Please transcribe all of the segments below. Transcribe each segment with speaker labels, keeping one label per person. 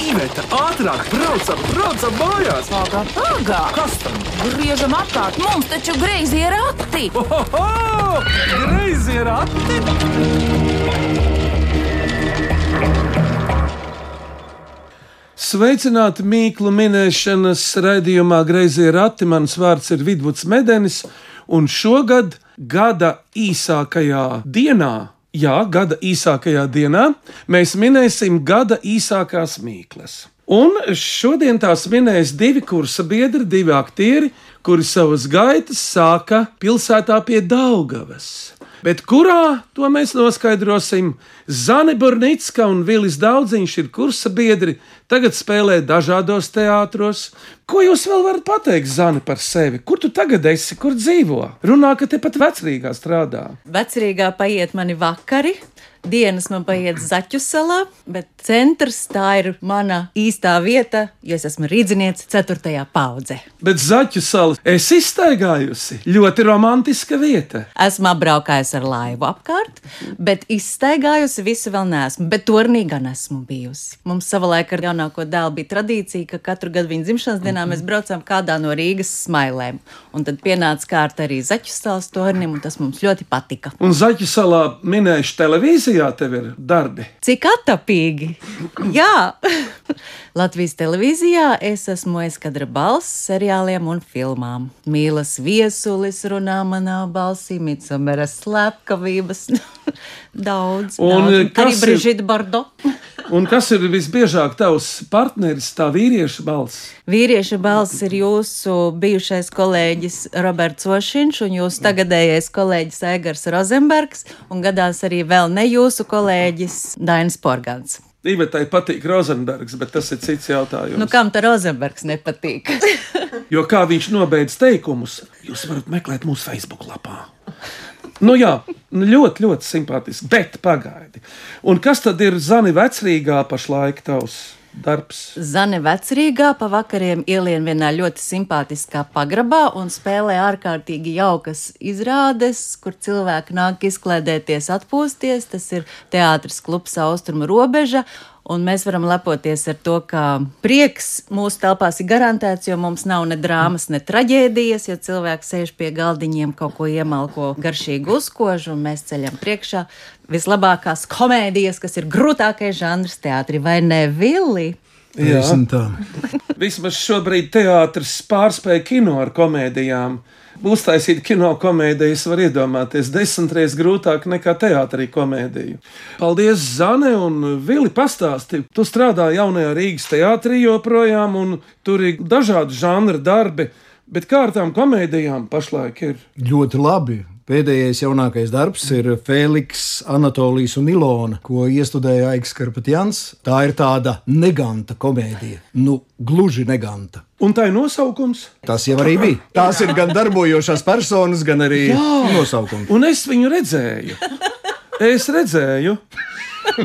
Speaker 1: Iveta, ātrāk, braucam, braucam mājās!
Speaker 2: Pagā, pagā!
Speaker 1: Kas tam?
Speaker 2: Griežam apkārt, mums taču greizi ir rati!
Speaker 1: Ohoho! Greizi ir rati!
Speaker 3: Sveicināti Mīklu minēšanas raidījumā Greizie rati. Mans vārds ir Vidvuds Medenis, un šogad gada īsākajā dienā, jā, gada īsākajā dienā, mēs minēsim gada īsākās mīklas. Un šodien tās minēs divi kursa biedri, divi aktieri, kuri savas gaitas sāka pilsētā pie Daugavas. Bet kurā to mēs noskaidrosim? Zani Burnicka un Vilis Daudziņš ir kursa biedri, tagad spēlē dažādos teātros. Ko jūs vēl varat pateikt, Zani, par sevi? Kur tu tagad esi, kur dzīvo? Runā, ka tepat vecrīgā strādā.
Speaker 4: Vecrīgā paiet mani vakari. Dienas man paiet zaķu salā, bet centrs tā ir mana īstā vieta, jo es esmu rīzniece ceturtajā paudze.
Speaker 3: Bet zaķu sala es iztaigājusi. Ļoti romantiska vieta.
Speaker 4: Esmu apbraukājusi ar laivu apkārt, bet izstaigājusi visu vēl neesmu, bet turnī gan esmu bijusi. Mums savulaik ar jaunāko dēlu bija tradīcija, ka katru gadu viņa dzimšanas dienā mēs braucām kādā no Rīgas smailēm, un tad pienāca kārta arī zaķu salas turnim, un tas mums ļoti patika.
Speaker 3: Un zaķu salā minējuši televīzijā, tev ir darbi.
Speaker 4: Cik attapīgi! Jā, Latvijas televīzijā es esmu aizkadra balss seriāliem un filmām. Mīlas viesulis runā manā balsī, micamera slepkavības. daudz,
Speaker 3: Un,
Speaker 4: daudz.
Speaker 3: kas
Speaker 4: arī
Speaker 3: ir-
Speaker 4: Brigita Bardo.
Speaker 3: Un kas ir visbiežāk tavs partneris, tā vīrieša balss?
Speaker 4: Vīrieša balss ir jūsu bijušais kolēģis Roberts Ošiņš un jūsu tagadējais kolēģis Aigars Rozenbergs un gadās arī vēl ne jūsu kolēģis Dainis Porgans.
Speaker 3: Ivetai patīk Rozenbergs, bet tas ir cits jautājums.
Speaker 4: Nu, kam tā Rozenbergs nepatīk?
Speaker 3: Jo kā viņš nobeidz teikumus, jūs varat meklēt mūsu Facebook lapā. Nu, jā, nu, ļoti, ļoti simpātiski. Bet pagaidi. Un kas tad ir Zani vecrīgā pašlaik tavs darbs?
Speaker 4: Zane vecrīgā pavakariem ielien vienā ļoti simpātiskā pagrabā un spēlē ārkārtīgi jaukas izrādes, kur cilvēki nāk izklaidēties, atpūsties. Tas ir teātris klubs Austrumu robeža. Un mēs varam lepoties ar to, ka prieks mūsu telpās ir garantēts, jo mums nav ne drāmas, ne traģēdijas. Ja cilvēks sēž pie galdiņiem, kaut ko iemalko garšīgu uzkožu, un mēs ceļam priekšā vislabākās komēdijas, kas ir grūtākais žanrs teātrī, vai ne, Vili?
Speaker 5: Teiksim tā.
Speaker 3: Vismaz šobrīd teātris pārspēja kino ar komēdijām. Uztaisīt kino komēdijas var iedomāties desmitreiz grūtāk nekā teātrī komēdiju. Paldies, Zane, un Vili, pastāsti. Tu strādā jaunajā Rīgas teātrī joprojām, un tur ir dažādi žanra darbi, bet kā ar tām komēdijām pašlaik ir?
Speaker 5: Ļoti labi. Pēdējais jaunākais darbs ir Fēniks, Anatolijas un Ilona, ko iestudēja Aigs Karpatjans. Tā ir tāda neganta komēdija. Nu, gluži neganta.
Speaker 3: Un tā ir nosaukums.
Speaker 5: Tas jau arī bija. Tās ir gan darbojošās personas, gan arī nosaukumi.
Speaker 3: Un es viņu redzēju. Es redzēju,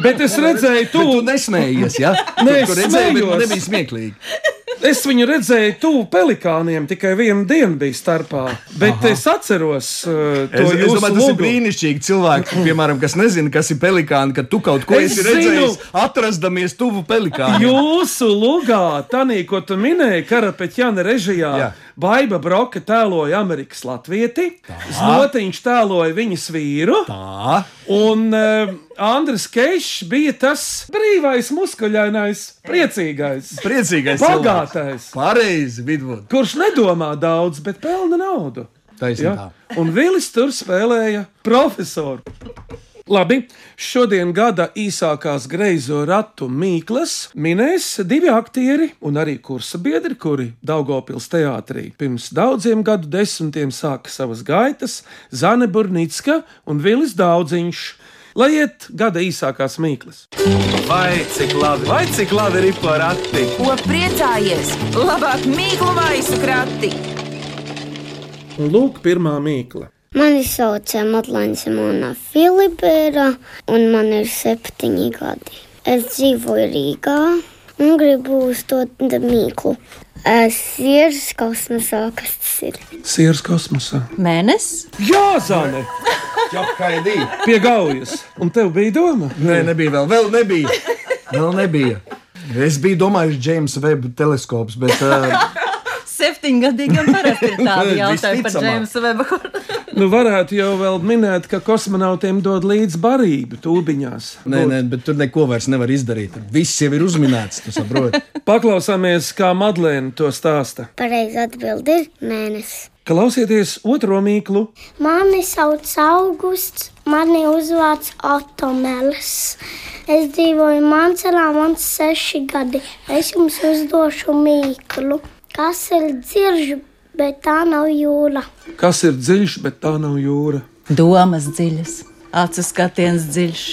Speaker 3: bet es redzēju,
Speaker 5: Tu, tu
Speaker 3: tu
Speaker 5: nesmējies, ja?
Speaker 3: Nē,
Speaker 5: tu, tu redzēji, bet
Speaker 3: smējos.
Speaker 5: nebija smieklīgi.
Speaker 3: Es viņu redzēju tuvu pelikāniem, tikai vienu dienu bija starpā. Bet Aha. es atceros, uh,
Speaker 5: Es,
Speaker 3: to
Speaker 5: es
Speaker 3: jūsu
Speaker 5: domāju, tas ir
Speaker 3: logu.
Speaker 5: brīnišķīgi. Cilvēki, piemēram, kas nezina, kas ir pelikāni, ka tu kaut ko
Speaker 3: Es
Speaker 5: esi
Speaker 3: zinu.
Speaker 5: redzējis, atrastamies tuvu pelikāniem.
Speaker 3: Jūsu lugā, Tanī, ko tu minēji, Karapeķana režijā, Jā.
Speaker 5: Jā.
Speaker 3: Baiba Broka tēloja Amerikas latvieti, Zlotiņš tēloja viņas vīru,
Speaker 5: Tā.
Speaker 3: un uh, Andris Kešs bija tas brīvais, muskuļainais, priecīgais,
Speaker 5: Priecīgais,
Speaker 3: bagātais,
Speaker 5: Pareizi, vidū.
Speaker 3: kurš nedomā daudz, bet pelna naudu.
Speaker 5: Taisnība.
Speaker 3: Ja? Un Vilis tur spēlēja profesoru. Labi, šodien gada īsākās greizo ratu mīklas minēs divi aktieri un arī kursa biedri, kuri Daugopils teātrī pirms daudziem gadu desmitiem sāka savas gaitas - Zane Burnicka un Vilis Daudziņš. Lai iet gada īsākās mīklas.
Speaker 1: Vai cik labi, vai cik labi ir pa rati!
Speaker 2: Ko priecājies? Labāk mīklu maisu krati!
Speaker 3: Un lūk, pirmā mīkla.
Speaker 6: Mani sauc Matlāns Mona Filipēra, un man ir septiņi gadi. Es dzīvoju Rīgā un gribu uzdot mīklu. Es ir skausmas, kas tas ir.
Speaker 3: Sieras kosmosā.
Speaker 4: Mēnesis,
Speaker 3: Jā, Zane,
Speaker 5: Jā, kaidī.
Speaker 3: pie gaujas. Un tev bija doma?
Speaker 5: Nē, nebija vēl, vēl nebija. Vēl nebija. Es biju domājis, ka James Webb teleskops, bet uh,
Speaker 4: Septiņgadīgam parasti ir tādi jautājumi par
Speaker 5: Visticamāk.
Speaker 4: Džeimsu Vebu.
Speaker 3: Nu, varētu jau vēl minēt, ka kosmonautiem dod līdzi barību tūbiņās.
Speaker 5: nē, nē, bet tur neko vairs nevar izdarīt. Viss jau ir uzminēts, tu saproti.
Speaker 3: Paklausāmies, kā Madlēna to stāsta.
Speaker 6: Pareizi atbild ir mēnesis.
Speaker 3: Klausieties otro mīklu,
Speaker 7: Mani sauc Augusts, mani uzvārds Otomēlis. Es dzīvoju Mancelā, man ir seši gadi. Es jums uzdošu mīklu, kas ir dzirdžu, bet tā nav jūra.
Speaker 3: kas ir dziļš, bet tā nav jūra.
Speaker 4: Domas dziļas, acu skatiens dziļš.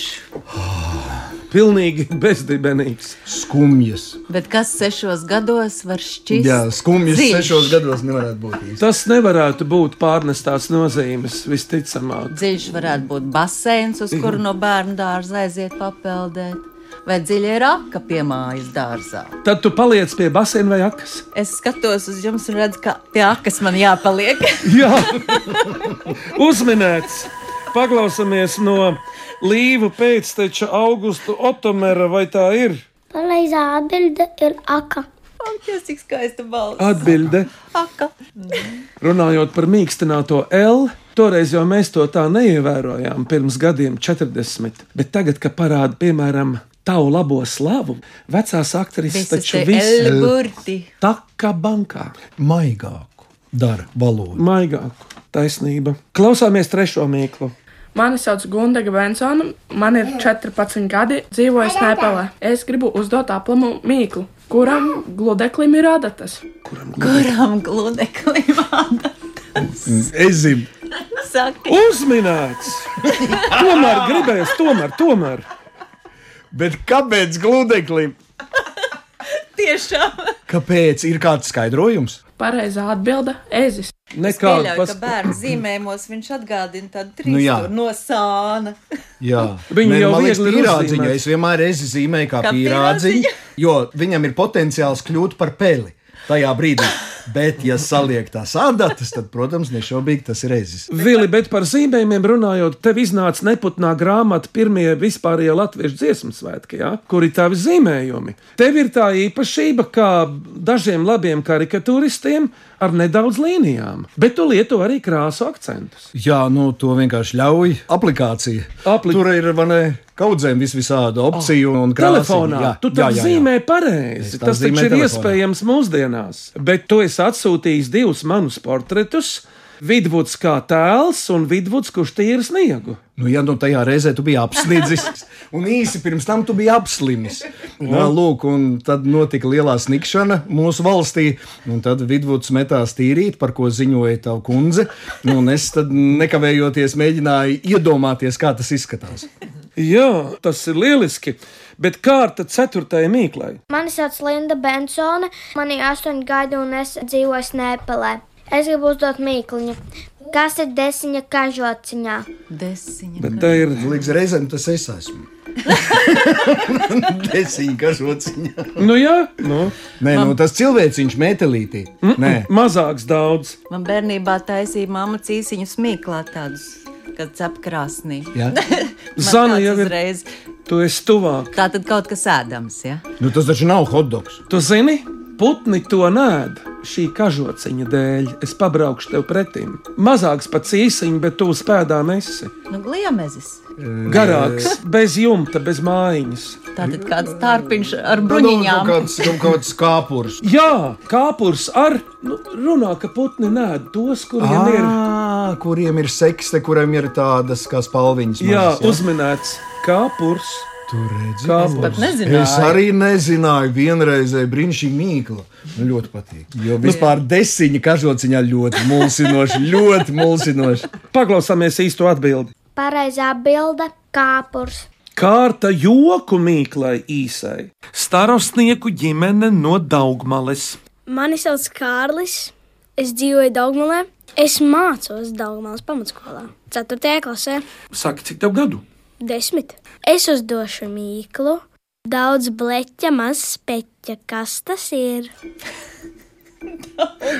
Speaker 3: Pilnīgi bezdibenīgs.
Speaker 5: Skumjas.
Speaker 4: Bet kas sešos gados var šķist?
Speaker 5: Jā, skumjas
Speaker 4: dziļš?
Speaker 5: sešos gados nevarētu būt īsti.
Speaker 3: Tas nevarētu būt pārnestās nozīmes visticamāk.
Speaker 4: Dziļš varētu būt baseins, uz kuru no bērnu dārza aiziet papeldēt. Vai dziļi ir apka pie mājas dārzā?
Speaker 3: Tad tu paliec pie basēna vai akas.
Speaker 4: Es skatos uz jums un redzu, ka pie akas man jāpaliek.
Speaker 3: Jā, uzminēts. Paklausāmies no Līva pēcteča Augusta Otomera, vai tā ir
Speaker 7: Pareizā atbilde ir aka.
Speaker 4: Ak, jūs cik skaista balss.
Speaker 3: atbilde.
Speaker 4: Aka.
Speaker 3: Runājot par mīkstināto L, toreiz jau mēs to tā neievērojām, pirms gadiem 40. Bet tagad, kad parāda, piemēram, tavu labo slavu, vecās aktrises
Speaker 4: Visas
Speaker 3: taču
Speaker 4: tie
Speaker 3: viss
Speaker 4: elburti.
Speaker 3: tā kā bankā,
Speaker 5: Maigāku dara valodu.
Speaker 3: maigāku. Taisnība. Klausāmies trešo mīklu.
Speaker 8: Mani sauc Gundaga Bensona, man ir 14 gadi, dzīvoju Snēpelē. Es gribu uzdot aplamu mīklu, kuram gludeklim ir adatas.
Speaker 4: Kuram gludeklim vada?
Speaker 5: Es zinu,
Speaker 4: Saka,
Speaker 3: Uzminēts! Tomēr gribēs, tomēr, tomēr.
Speaker 5: bet kāpēc gludeklim?
Speaker 4: tiešām.
Speaker 5: Kāpēc ir kāds skaidrojums?
Speaker 8: Pareizā atbilde - ezis.
Speaker 3: Nekāda
Speaker 4: Pieļauju, ka bērnu zīmējumos viņš atgādina tādu
Speaker 5: Nu jā.
Speaker 4: trīsstūri no sāna.
Speaker 5: Jā, nu,
Speaker 3: Viņu jau
Speaker 5: man liekas,
Speaker 3: viegli ir
Speaker 5: pierādziņa.
Speaker 3: uzzīmēt.
Speaker 5: Es vienmēr esi zīmējis
Speaker 4: Kā
Speaker 5: kā, kā
Speaker 4: pierādziņu?
Speaker 5: pierādziņa, jo viņam ir potenciāls kļūt par peli tajā brīdī. Bet, ja saliek tās adatas, tad, protams, nešaubīgi tas ir reizes.
Speaker 3: Vili, bet par zīmējumiem runājot, tev iznāca neputnā grāmata pirmie vispārējie latviešu dziesmu svētki, ja? kur ir tavi zīmējumi. Tev ir tā īpašība, kā dažiem labiem karikatūristiem ar nedaudz līnijām, bet tu lieto arī krāsu akcentus.
Speaker 5: Jā, nu to vienkārši ļauj. Aplikācija.
Speaker 3: Apli-
Speaker 5: Tur ir vai ne, kaudzēm vis- visādi opciju oh. un krāsas.
Speaker 3: Telefonā jā, tu tam zīmē pareizi.
Speaker 5: Es tam
Speaker 3: Tas taču
Speaker 5: zīmēju
Speaker 3: ir
Speaker 5: telefonā.
Speaker 3: iespējams mūsdienās. Bet tu esi atsūtījis divus manus portretus. Vidvuds kā tēls un vidvuds, kurš tīra sniegu.
Speaker 5: Nu, ja nu tajā reizē tu biji apsnidzis, un īsi pirms tam tu biji apslimis. Jā, lūk, un tad notika lielā snikšana mūsu valstī, un tad vidvuds metās tīrīt, par ko ziņoja tava kundze. Nu, Un es tad nekavējoties mēģināju iedomāties, kā tas izskatās.
Speaker 3: Jā, tas ir lieliski. Bet kārta ceturtajai mīklai.
Speaker 7: Mani sauc Linda Bensone, man ir astoņi gadi un es dzīvoju Snēpelē. Es gribu uzdot mīkluņu. Kas ir desiņa kažociņā?
Speaker 4: Desiņa.
Speaker 3: Bet tā ir.
Speaker 5: Nu, Līdz reizēm tas es esmu. Desīgi, kas rociņā.
Speaker 3: Nu, jā, nu,
Speaker 5: Nē, nu, tas cilvēciņš metelītī. Nē.
Speaker 3: mazāks daudz.
Speaker 4: Man bērnībā taisīja mamma cīsiņu smieklā tādus, kad cep krāsnī.
Speaker 5: Ja?
Speaker 4: Man
Speaker 3: Zana
Speaker 4: tāds
Speaker 3: jau ir-
Speaker 4: Uzreiz.
Speaker 3: Tu esi tuvāk.
Speaker 4: Tā tad kaut kas ēdams, ja?
Speaker 5: Nu, tas taču nav hotdogs.
Speaker 3: Tu zini, putni to nēd šī kažociņa dēļ. Es pabraukšu tev pretim. Mazāks par cīsiņu, bet tu uz pēdām esi.
Speaker 4: Nu, gliemezis.
Speaker 3: Garāks, bez jumta, bez mājiņas.
Speaker 4: Tā tad kāds tārpiņš ar
Speaker 5: kaut
Speaker 4: bruņiņām.
Speaker 5: Nu, kāds, kaut kāds kāpurs.
Speaker 3: Jā, kāpurs ar nu, runā, ka putni nē, tos, kuriem ir.
Speaker 5: Ah, kuriem ir sekste, kuriem ir tādas kā spalviņas.
Speaker 3: Jā,
Speaker 5: mazas,
Speaker 3: uzminēts kāpurs.
Speaker 5: Tur redzi,
Speaker 3: Kāpurs.
Speaker 4: Nezināju.
Speaker 5: Es arī nezināju, vienreizēji brīnišķīgi mīklu. Man ļoti patīk. Jo vispār desiņa kažociņā ļoti mulsinoši, ļoti mulsinoši.
Speaker 3: Paklausāmies īsto atbildi.
Speaker 7: Pareizā atbilde - kāpurs.
Speaker 3: Kārta joku mīklai īsai. Starostnieku ģimene no Daugmales.
Speaker 7: Mani sauc Kārlis. Es dzīvoju Dārgmālē. Es mācos Dārgmālas pamatskolā, 4. klasē,
Speaker 3: Saki, cik tev gadu?
Speaker 7: 10. Es uzdošu mīklu. Daudz bleķa, maz speķa. Kas tas ir?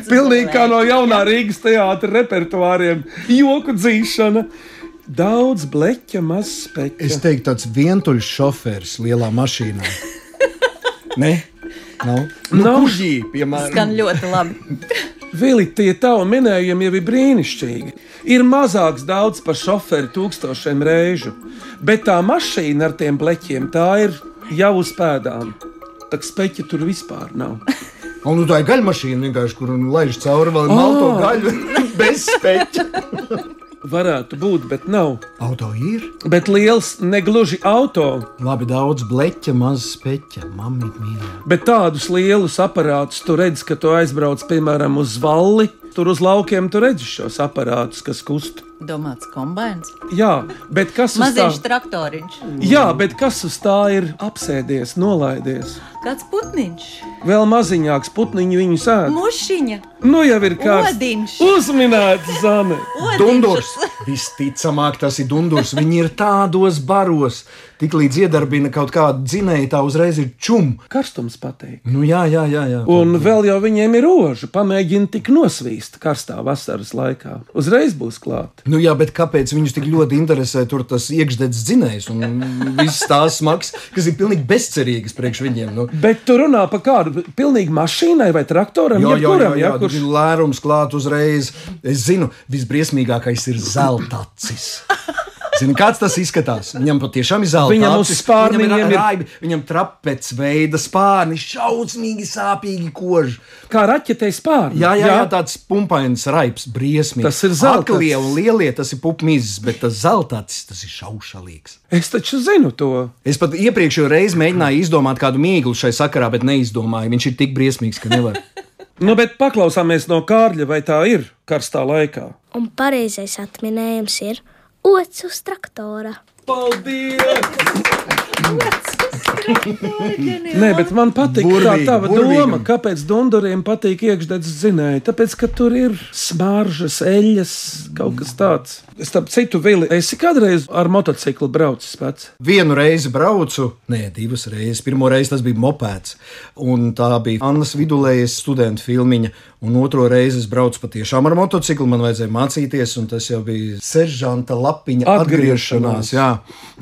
Speaker 3: Pilnīgi kā no jaunā Rīgas teātra repertuāriem - joku dzīšana. Daudz bleķa, maz
Speaker 5: Es
Speaker 3: speķa.
Speaker 5: teiktu, tāds vientuļš šoferis lielā mašīnā. Nē, nav. Nu,
Speaker 3: Nav.
Speaker 5: kužī, piemēram.
Speaker 4: Skan ļoti labi.
Speaker 3: Vili, tie tavi minējumi jau ir brīnišķīgi. Ir mazāks daudz par šoferi tūkstošiem reižu, bet tā mašīna ar tiem bleķiem tā ir jau uz pēdām. Tā kā speķi tur vispār nav.
Speaker 5: Un nu, tā ir gaļmašīna vienkārši, kur nu, laiž cauri
Speaker 3: Ah.
Speaker 5: vēl malto gaļu bez speķa.
Speaker 3: Varētu būt, bet nav.
Speaker 5: Auto ir.
Speaker 3: Bet liels, negluži auto,
Speaker 5: Labi, daudz bleķa, maz speķa. Mamma mīļā.
Speaker 3: bet tādus lielus aparātus tu redz, ka tu aizbrauc piemēram uz valli. Tur uz laukiem tu redzi šos aparātus, kas kust.
Speaker 4: Domāts kombinācijas.
Speaker 3: Jā, bet kas uz tā?
Speaker 4: Maziņš traktoriņš,
Speaker 3: Jā, bet kas uz tā ir apsēdies, nolaidies?
Speaker 4: kāds putniņš,
Speaker 3: Vēl maziņāks putniņš viņu sēž.
Speaker 4: mušiņa,
Speaker 3: Nu jau ir kārtas.
Speaker 4: Odiņš.
Speaker 3: Uzminēts, Zane.
Speaker 5: Dundurs.
Speaker 4: odiņš.
Speaker 5: Visticamāk, tas ir dundurs. Viņi ir tādos baros, tik līdz iedarbina kaut kādu dzinēju, tā uzreiz ir čum.
Speaker 3: Karstums patīk.
Speaker 5: Nu, jā, jā, jā. jā.
Speaker 3: Un vēl jau viņiem ir roža. Pamēģini tik nosvīst karstā vasaras laikā. Uzreiz būs klāt.
Speaker 5: Nu, jā, bet kāpēc viņus tik ļoti interesē tur tas iekšdedzes dzinējs un visas tās smags, kas ir pilnīgi bezcerīgas priekš viņiem? Nu.
Speaker 3: Bet tu runā par kādu pilnīgi mašīnai vai traktoram,
Speaker 5: Jā, jā, jā,
Speaker 3: jebkuram,
Speaker 5: jā,
Speaker 3: ja kurš
Speaker 5: ir lērums klāt uzreiz. Es zinu, visbriesmīgākais ir zeltacis. Zini, kāds tas izskatās? Viņam patiešām ir zelta.
Speaker 3: Viņam uz spārniem
Speaker 5: viņam ir
Speaker 3: ir-
Speaker 5: raibi, viņam trapec veida spārni, šausmīgi sāpīgi koži.
Speaker 3: kā raķetei spārnu.
Speaker 5: Jā, jā, jā. jā tāds pumpains raips, briesmīgs.
Speaker 3: Tas ir zeltacis.
Speaker 5: Aklie un lielie, tas ir pupmīzes, bet tas zeltacis, tas ir šaušalīgs.
Speaker 3: Es taču zinu to.
Speaker 5: Es pat iepriekšējo reizi mēģināju izdomāt kādu mīklu šai sakarā, bet neizdomāju. Viņš ir tik briesmīgs, ka nevar.
Speaker 3: Nu, bet paklausāmies no Kārļa, vai tā ir karstā laikā.
Speaker 7: Un pareizais atminējums ir ots uz traktora.
Speaker 3: Paldies! Nē, bet man patīk burvīgi,
Speaker 5: Burvīgi,
Speaker 3: tā tā
Speaker 5: burvīgi.
Speaker 3: doma, kāpēc Dunkuriem patīk iekšdedzes zinēja. Tāpēc, ka tur ir smaržas, eļļas, kaut kas tāds. Starp citu, Vili, esi kādreiz ar motociklu braucis pats?
Speaker 5: Vienu reizi braucu, nē, divas reizes. Pirmo reizi tas bija mopeds, un tā bija Annas vidulējas studenta filmiņa. Un otro reizi es braucu patiešām ar motociklu, man vajadzēja mācīties, un tas jau bija seržanta lapiņa
Speaker 3: Atgriešanās.
Speaker 5: atgriešanās. Jā,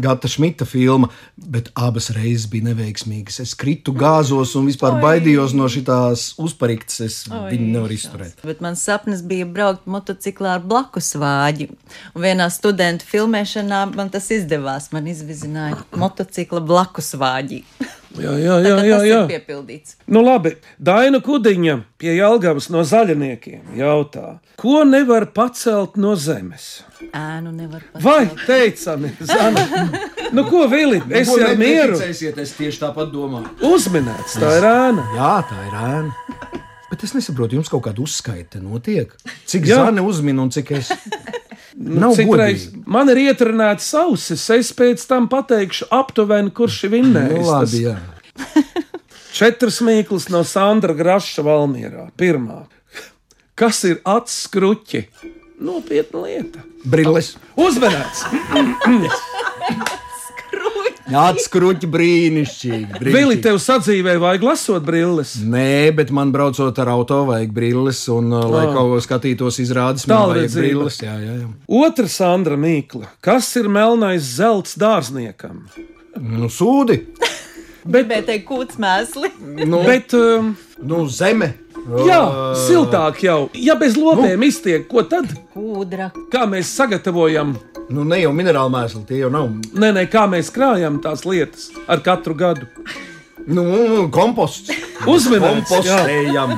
Speaker 5: Gata Šmita filma, bet abas reizes bija neveiksmīgas. Es kritu gāzos un vispār baidījos no šīs uzpariktas. Es viņu nevaru izturēt.
Speaker 4: Bet mans sapnis bija braukt motociklā ar blakus vāģi. Un vienā studenta filmēšanā man tas izdevās. Man izvizināja motocikla blakus vāģi.
Speaker 3: Jā, jā,
Speaker 4: Tā
Speaker 3: jā.
Speaker 4: kā
Speaker 3: jā,
Speaker 4: tas
Speaker 3: jā.
Speaker 4: ir piepildīts.
Speaker 3: Nu, labi, Daina Kudiņa pie Jālgavas no zaļiniekiem jautā, ko nevar pacelt no zemes?
Speaker 4: Ēnu nevar pat.
Speaker 3: Vai teicami, Zana? Nu, ko Vili? Es
Speaker 5: Ko
Speaker 3: jau
Speaker 5: ne-
Speaker 3: mieru
Speaker 5: neticēsiet, es tieši tāpat domāju.
Speaker 3: uzminēts, tā ir ēna.
Speaker 5: Jā, tā ir ēna. Bet es nesaprotu, jums kaut kāda uzskaita notiek. Cik
Speaker 3: Jā.
Speaker 5: zāle uzmina un cik es. Nav
Speaker 3: Citreiz
Speaker 5: godīgi.
Speaker 3: Nu, man ir ietrunāts ausis, es pēc tam pateikšu aptuveni, kurš ir
Speaker 5: Nu,
Speaker 3: vinnējis.
Speaker 5: labi, jā.
Speaker 3: Tas Četras mīklas no Sandra Graša Valmierā. Pirmā. Kas ir atskruķi? Nopietna lieta.
Speaker 5: Brilles.
Speaker 3: Uzmanīts!
Speaker 5: Atskruķi brīnišķīgi.
Speaker 3: Vili,
Speaker 5: brīnišķīgi.
Speaker 3: tev sadzīvē vajag lasot brilles.
Speaker 5: Nē, bet man braucot ar auto vajag brilles, un uh, lai
Speaker 3: Ā.
Speaker 5: kaut ko skatītos, izrādās, man vajag
Speaker 3: Tālredzība.
Speaker 5: brilles. Jā, jā, jā.
Speaker 3: Otra Sandra Mīkla. Kas ir melnais zelts dārzniekam?
Speaker 5: Nu, sūdi.
Speaker 4: Bet bija teikt, kūts mēsli.
Speaker 5: Nu, bet...
Speaker 3: Bet, um,
Speaker 5: nu zeme. Uh,
Speaker 3: jā,
Speaker 5: Ā,
Speaker 3: siltāk jau. Ja bez
Speaker 5: Nu.
Speaker 3: lopiem iztiek, ko tad?
Speaker 4: Kūdra.
Speaker 3: Kā mēs sagatavojam
Speaker 5: Nu, ne jau minerāli mēsli, tie jau nav.
Speaker 3: Nē, nē, kā mēs krājam tās lietas ar katru gadu.
Speaker 5: Nu, komposts.
Speaker 3: Uzmanīgs,
Speaker 5: Kompostējam.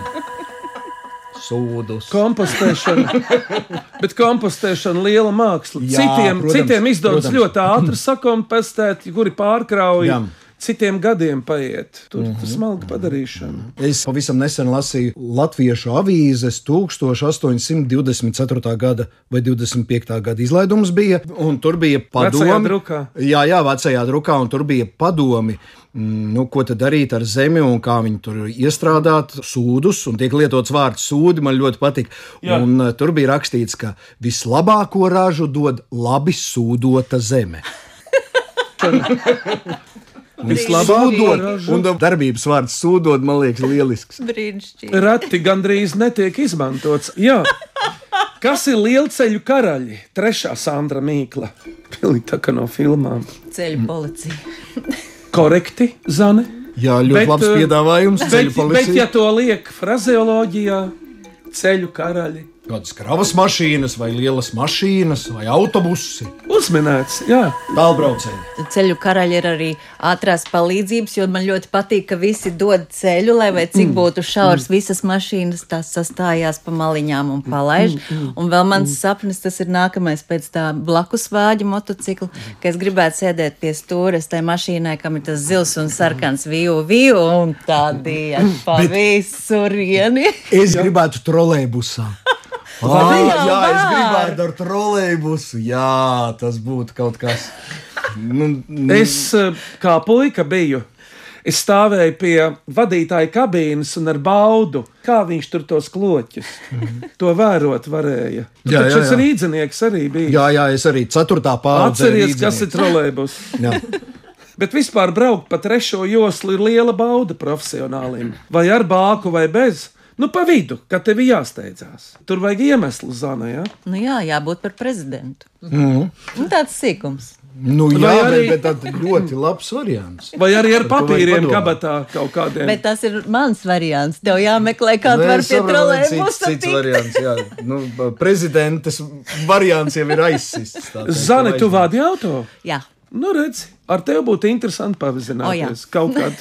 Speaker 5: Sūdus.
Speaker 3: Kompostēšana. Bet kompostēšana ir liela māksla. Jā,
Speaker 5: Jā,
Speaker 3: citiem,
Speaker 5: protams,
Speaker 3: protams, citiem izdodas
Speaker 5: protams.
Speaker 3: protams. ļoti ātri sakompostēt, kuri pārkrauj.
Speaker 5: Jā. Mhm.
Speaker 3: Citiem gadiem paiet. Tur mm -hmm. tas smalki padarīšana.
Speaker 5: Es pavisam nesen lasīju Latviešu avīzes 1824. gada vai 25. gada izlaidums bija. un Tur bija
Speaker 3: Vecajā
Speaker 5: padomi.
Speaker 3: drukā.
Speaker 5: Jā, jā, vecajā drukā, un tur bija padomi, mm, nu, ko tad darīt ar zemi un kā viņu tur iestrādāt. Sūdus, un tiek lietots vārds sūdi, man ļoti patīk.
Speaker 3: Jā.
Speaker 5: Un uh, tur bija rakstīts, ka vislabāko ražu dod labi sūdota zeme.
Speaker 3: Vislabāk
Speaker 5: Sūdot, un darbības vārds sūdot, man liekas, lielisks.
Speaker 4: Brīnišķīgi.
Speaker 3: Reti gandrīz netiek izmantots. Jā. Kas ir lielceļu karaļi? Trešā Sandra Mīkla. Pilnīgi tā kā no filmām.
Speaker 4: Ceļu policija.
Speaker 3: Korekti, Zane.
Speaker 5: Jā, ļoti
Speaker 3: Bet,
Speaker 5: labs
Speaker 3: eh,
Speaker 5: piedāvājums.
Speaker 3: Bet,
Speaker 5: Ceļu
Speaker 3: bet, ja
Speaker 5: policija.
Speaker 3: to liek frazeoloģijā, ceļu karaļi,
Speaker 5: Kādas kravas mašīnas, vai lielas mašīnas, vai autobusi?
Speaker 3: uzminēts, jā.
Speaker 5: Tālbraucēji.
Speaker 4: Ceļu karaļi ir arī ātrās palīdzības, jo man ļoti patīk, ka visi dod ceļu, lai arī cik būtu šaurs, visas mašīnas tās sastājās pa maliņām un palaiž. Un vēl mans sapnis, tas ir nākamais pēc tā blakus vāģa motocikla, ka es gribētu sēdēt pie stūres tai mašīnai, kam ir tas zils un sarkans vīju, vīju, un tā diena pa visu rieni.
Speaker 5: Es gribētu trolēļbusā. Ah, jā, es gribētu ar trolēļbusu. Jā, tas būtu kaut kas. Nu, nu,
Speaker 3: Es eh, kā puika biju. Es stāvēju pie vadītāja kabīnes un ar baudu, kā viņš tur tos kloķus. To vērot varēja. Tu
Speaker 5: Mhm.
Speaker 3: jā,
Speaker 5: Jā, jā,
Speaker 3: taču jā,
Speaker 5: jā.
Speaker 3: jā. rīznieks arī bija.
Speaker 5: jā, jā, es arī ceturtā pāri.
Speaker 3: Atceries, kas ir trolēļus.
Speaker 5: Jā.
Speaker 3: Bet vispār braukt pa trešo joslu ir liela bauda profesionālim. Vai ar bāku, vai bez. Nu, pa vidu, kad tev ir jāsteidzās. Tur vajag iemeslu zāle. Ja?
Speaker 4: Nu jā, jābūt par prezidentu. Nu, Tāds sīkums.
Speaker 5: Nu, jā,
Speaker 3: Vai
Speaker 5: arī...
Speaker 3: arī-
Speaker 5: bet tad ļoti labs variants.
Speaker 3: Vai arī ar
Speaker 5: Par to vajag
Speaker 3: papīriem
Speaker 5: padomāt.
Speaker 3: kabatā kaut kādiem.
Speaker 4: Bet tas ir mans variants. Tev jāmeklē, kā tu
Speaker 5: Nu,
Speaker 4: vari
Speaker 5: Eh. es
Speaker 4: pie
Speaker 5: saprotu, cits,
Speaker 4: trolēļbusa
Speaker 5: cits
Speaker 4: tikt.
Speaker 5: variants. Jā. Nu, prezidentes variants jau ir aizsists. tā teikt,
Speaker 3: Zani, tu
Speaker 5: vai-
Speaker 3: vādi auto?
Speaker 4: Jā.
Speaker 3: Nu, redzi, ar tevi būtu interesanti
Speaker 4: O, jā.
Speaker 3: pavizināties kaut kad.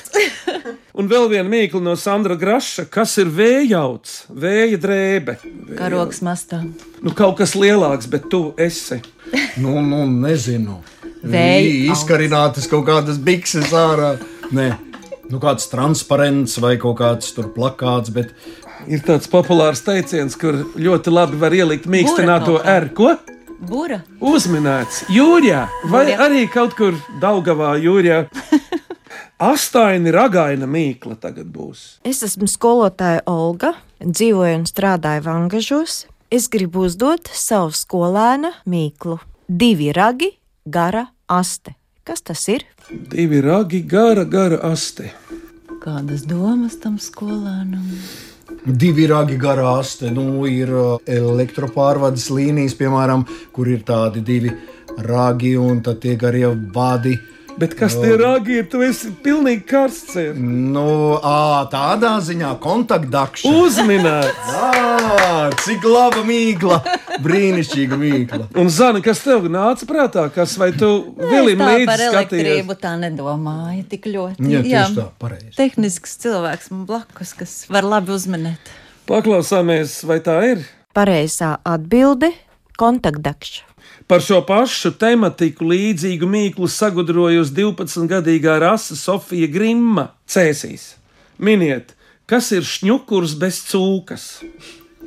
Speaker 3: Un vēl viena mīkla no Sandra Graša, kas ir vējauts, vēja drēbe.
Speaker 4: Karoks mastā.
Speaker 3: Nu, kaut kas lielāks, bet tu esi.
Speaker 5: Nu, nu nezinu.
Speaker 4: Vēja
Speaker 5: Bija Izkarinātas kaut kādas bikses ārā. Nē. Nu, kāds transparents vai kaut kāds tur plakāts, bet
Speaker 3: Ir tāds populārs teiciens, kur ļoti labi var ielikt mīkstināto
Speaker 4: kaut kā.
Speaker 3: R. Ko?
Speaker 4: Būra.
Speaker 3: Uzminēts jūrijā, vai jūrjā.
Speaker 4: Jūrijā.
Speaker 3: arī kaut kur Daugavā jūrijā. Astaini ragaina mīkla tagad būs.
Speaker 9: Es esmu skolotāja Olga, dzīvoju un strādāju Vangažos. Es gribu uzdot savu skolēna mīklu. Divi ragi, gara aste. Kas tas ir?
Speaker 3: Divi ragi, gara, gara aste.
Speaker 4: Kādas domas tam skolēnam?
Speaker 5: divi ragi garās. Te nu, ir uh, elektropārvades līnijas, piemēram, kur ir tādi divi ragi un tad tie garie vadi.
Speaker 3: Bet kas tie ragi ir? Tu esi pilnīgi karsts. ir.
Speaker 5: Nu, ā, tādā ziņā kontaktdakša.
Speaker 3: Uzminēts!
Speaker 5: Ah, cik laba mīkla! Brīnišķīga mīkla!
Speaker 3: Un, Zana, kas tev nāca prātā, kas vai tu
Speaker 4: Nu, Es
Speaker 3: vēl
Speaker 4: tā
Speaker 3: līdzi
Speaker 4: par
Speaker 3: skatījies?
Speaker 4: elektrību tā nedomāju tik ļoti.
Speaker 5: Jā, tieši tā, pareizi.
Speaker 4: Tehnisks cilvēks man blakus, kas var labi uzminēt.
Speaker 3: Paklausāmies, vai tā ir?
Speaker 9: Pareizā atbilde - kontaktdakša.
Speaker 3: Par šo pašu tematiku līdzīgu mīklu sagudrojusi 12-gadīgā rasa Sofija Grimma. Cēsīs. Miniet, kas ir šņukurs bez cūkas?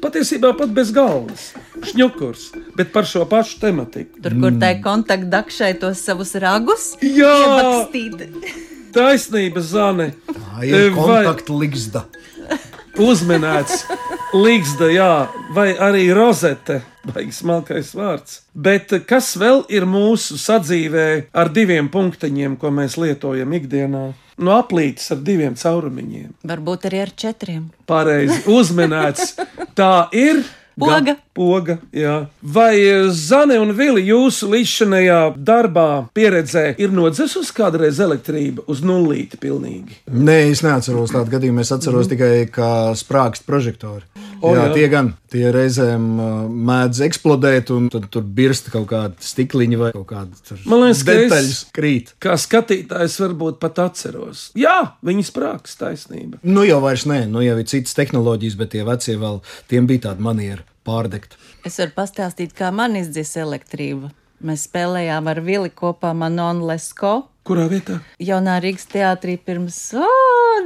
Speaker 3: Patiesībā pat bez galvas. Šņukurs, bet par šo pašu tematiku.
Speaker 4: Tur, kur tai
Speaker 5: Mm.
Speaker 4: kontaktdakšai tos savus ragus
Speaker 3: Jā,
Speaker 4: iebakstīt.
Speaker 3: taisnība, Zane.
Speaker 5: Tā Ah, ir
Speaker 3: Eh, Vai-
Speaker 5: kontaktligzda.
Speaker 3: uzminēts Ligzda, jā, vai arī rozete, vai smalkais vārds. Bet kas vēl ir mūsu sadzīvē ar diviem punktiņiem, ko mēs lietojam ikdienā? No aplītes ar diviem caurumiņiem.
Speaker 4: Varbūt arī ar četriem.
Speaker 3: Pareizi uzminēts. Tā ir.
Speaker 4: Poga.
Speaker 3: Ga- Poga, jā. Vai eh, Zane un Vili jūsu līdzšanējā darbā pieredzē ir nodzesus kādreiz elektrību uz nullīti pilnīgi?
Speaker 5: Nē, es neatceros tādu gadījumu. Es atceros tikai, ka sprāgst prožektori.
Speaker 3: Mhm. O,
Speaker 5: jā,
Speaker 3: jā.
Speaker 5: tie gan tie reizēm uh, mēdz eksplodēt, un tad tur birst kaut kāda stikliņa vai kaut kāda
Speaker 3: Man liekas, ka es-
Speaker 5: detaļas krīt.
Speaker 3: Kā skatītājs varbūt pat atceros. Jā, viņas prāks taisnība.
Speaker 5: Nu jau vairs nē, nu jau ir citas tehnoloģijas, bet tie vecie vēl, tiem bija tāda maniera pārdegt.
Speaker 4: Es varu pastāstīt, kā man izdzis elektrība. Mēs spēlējām ar Vili kopā Manon Lesko.
Speaker 3: Kurā vietā?
Speaker 4: Jaunā Rīgas teātrī pirms o,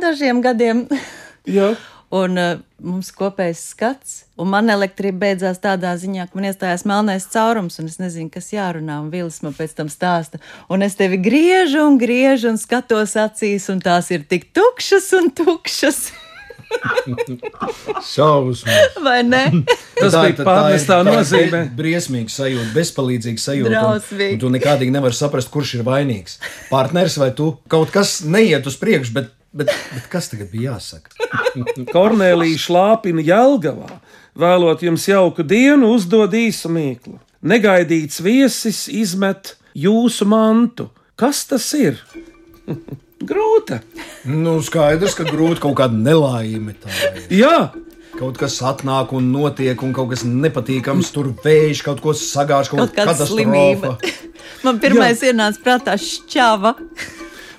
Speaker 4: dažiem gadiem.
Speaker 3: Jā,
Speaker 4: Un uh, mums kopējais skats, un man elektrība beidzās tādā ziņā, ka man iestājās melnais caurums, un es nezinu, kas jārunā, un Vils man pēc tam stāsta. Un es tevi griežu un griežu un skatos acīs, un tās ir tik tukšas un tukšas,
Speaker 5: Šausmas!
Speaker 4: vai ne?
Speaker 3: tas
Speaker 5: Tā ir-
Speaker 3: bija pārmestā
Speaker 5: tā ir- tā ir
Speaker 3: nozīmē.
Speaker 5: brie- Briesmīgs sajūta, bezpalīdzīgs sajūta.
Speaker 4: Drausmīgi.
Speaker 5: Un, un tu nekādīgi nevari saprast, kurš ir vainīgs. Partners vai tu kaut kas neiet uz priekšu, bet, bet, bet kas tagad bija jāsaka?
Speaker 3: Kornelija Šlāpina Jelgavā, vēlot jums jauku dienu, uzdod īsu mīklu. Negaidīts viesis izmet jūsu mantu. Kas tas ir? grūta.
Speaker 5: Nu, skaidrs, ka grūti kaut kāda nelaime. tā ir.
Speaker 3: Jā,
Speaker 5: Kaut kas atnāk un notiek, un kaut kas nepatīkams, tur vējš kaut ko sagāž, kaut,
Speaker 4: Kaut
Speaker 5: kaut
Speaker 4: kāda
Speaker 5: kāda
Speaker 4: slimība.
Speaker 5: katastrofa.
Speaker 4: Man pirmais ienāca prātā šķava.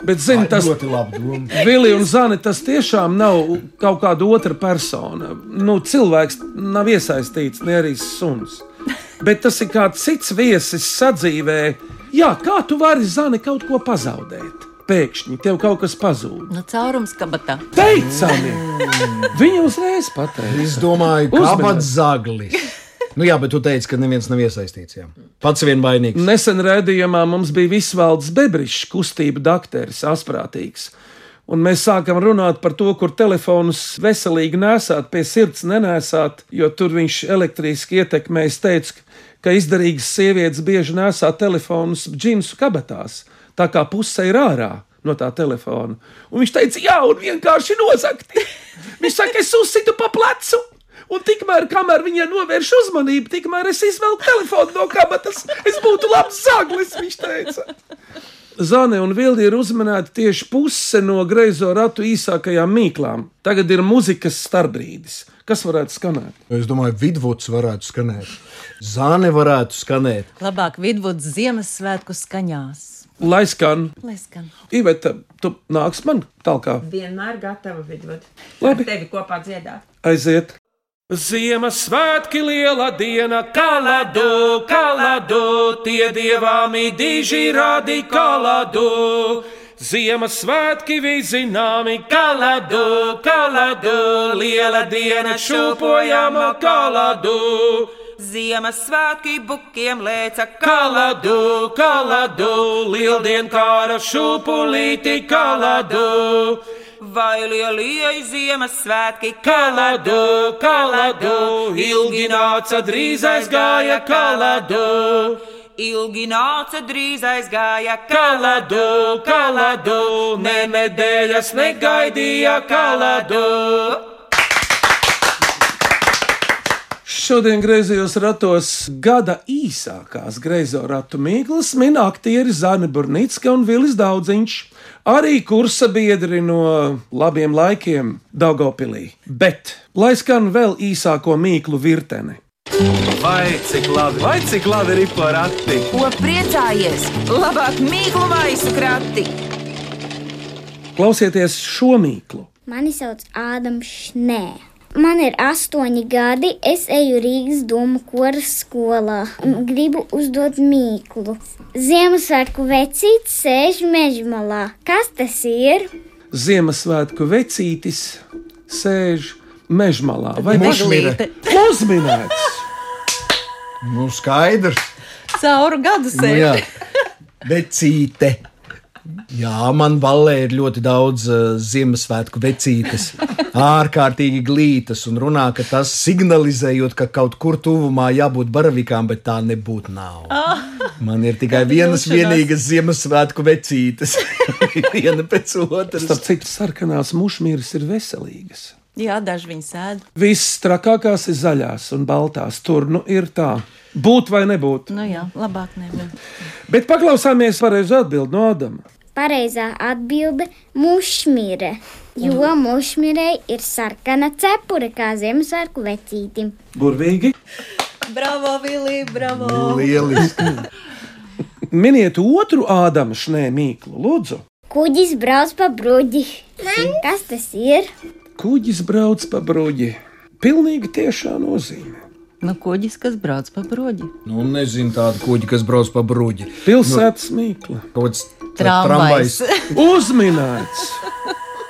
Speaker 3: bet zini,
Speaker 5: Tas
Speaker 3: tas
Speaker 5: ļoti labi doma.
Speaker 3: Vili un Zani, tas tiešām nav kaut kāda otra persona. Nu, cilvēks nav iesaistīts, ne arī suns. Bet tas ir kāds cits viesis sadzīvē. Jā, kā tu vari, Zani, kaut ko pazaudēt? Pēkšņi tev kaut kas pazūd.
Speaker 4: Nu, caurums kabatā.
Speaker 3: Teicami! Viņa uzreiz pateica.
Speaker 5: Es domāju, ka
Speaker 3: Uzmanības.
Speaker 5: abas zaglis. Nu jā, bet tu teici, ka neviens nav iesaistīts. Jā. Pats vien vainīgs.
Speaker 3: Nesen redzējumā mums bija Visvalds Bebrišs, kustība dakteris, asprātīgs. Un mēs sākam runāt par to, kur telefonus veselīgi nesāt, pie sirds nenesāt, jo tur viņš elektriski ietekmēs. Teica, ka izdarīgas sievietes bieži nesā telefonus džinsu kabatās, tā kā puse ir ārā. No tā telefona. Un viņš teica, jā, un vienkārši nozagti. Viņš saka, es uzsitu pa plecu, un tikmēr, kamēr viņa novērš uzmanību, tikmēr es izvelku telefonu no kabatas, es būtu labs zaglis, viņš teica. Zane un Vilni ir uzmanīti tieši puse no greizo ratu īsākajām mīklām. Tagad ir muzikas starpbrīdis. Kas varētu skanēt?
Speaker 5: Nu, Es domāju, vidvuds varētu skanēt. Zāne varētu skanēt.
Speaker 4: Labāk vidvuds Ziemassvētku skaņās.
Speaker 3: Lai skan,
Speaker 4: Lai skan.
Speaker 3: Iveta, tu nāks man tālāk,
Speaker 2: Vienmēr gatava vidot.
Speaker 3: Labi.
Speaker 2: Tevi kopā dziedāt.
Speaker 3: aiziet. Ziemassvētki liela diena, kaladu, kaladu, tie dievāmi diži rādi kaladu. Ziemassvētki vizināmi, kaladu, kaladu, liela diena šūpojama kaladu.
Speaker 2: Ziemassvētki bukiem lēca
Speaker 3: Kaladu, kaladu, lieldien kāra šūpulīti kaladu.
Speaker 2: vai lielie Ziemassvētki
Speaker 3: Kaladu, kaladu, ilgi nāca drīz aizgāja kaladu.
Speaker 2: Ilgi nāca drīz aizgāja
Speaker 3: Kaladu, kaladu, ne nedēļas negaidīja kaladu. Šodien griezījos ratos gada īsākās griezo ratu mīklas min aktieri Zani Burnicka un Vilis Daudziņš, arī kursa biedri no labiem laikiem Daugopilī. Bet, lai skan vēl īsāko mīklu virteni.
Speaker 1: Vai cik labi, vai cik labi ir porati?
Speaker 2: Ko priecājies? Labāk mīklu maisu krati!
Speaker 3: Klausieties šo mīklu!
Speaker 6: Mani sauc Ādams Šnē. Man ir astoņi gadi, es eju Rīgas domu koras skolā un gribu uzdot mīklu. Ziemassvētku vecītis sēž meža malā. Kas tas ir?
Speaker 3: Ziemassvētku vecītis sēž mežmalā vai
Speaker 5: Mušmire.
Speaker 4: Eglīte.
Speaker 3: uzminēts.
Speaker 5: Nu, skaidrs.
Speaker 4: Cauru gadu
Speaker 5: Nu,
Speaker 4: sēž.
Speaker 5: jā. Vecīte. Jā, man valē ir ļoti daudz uh, Ziemassvētku vecītes. Ārkārtīgi glītas un runā, ka tas signalizējot, ka kaut kur tuvumā jābūt baravīkām, bet tā nebūtu nav. Man ir tikai vienas
Speaker 4: vilšanās.
Speaker 5: vienīgas Ziemassvētku vecītes. Viena pēc
Speaker 3: Starp
Speaker 5: otras.
Speaker 3: citu, sarkanās mušmīras ir veselīgas.
Speaker 4: Jā, daži viņi sēd.
Speaker 3: Viss trakākās ir zaļās un baltās. Tur nu ir tā. Būt vai nebūt.
Speaker 4: Nu jā, labāk nevar.
Speaker 3: Bet paklausāmies pareizo atbildi no Ādama.
Speaker 6: Pareizā atbilde - mušmire. Jo mušmirei ir sarkana cepure kā Ziemassvētku vecītim.
Speaker 3: Burvīgi.
Speaker 4: Bravo, Vili, bravo!
Speaker 5: Lieliski.
Speaker 3: Miniet otru Ādama šnē mīklu, lūdzu.
Speaker 6: Kuģis brauc pa bruģi. Kas tas ir?
Speaker 3: Kuģis brauc pa bruģi. Pilnīgi tiešā nozīme.
Speaker 4: Nu, kuģis, kas brauc pa broģi.
Speaker 5: Nu, nezinu tādu kuģi, kas brauc pa bruģi.
Speaker 3: Pilsētas mīkla.
Speaker 5: Kaut kāds eh,
Speaker 4: Tramvajs.
Speaker 3: Uzminēts!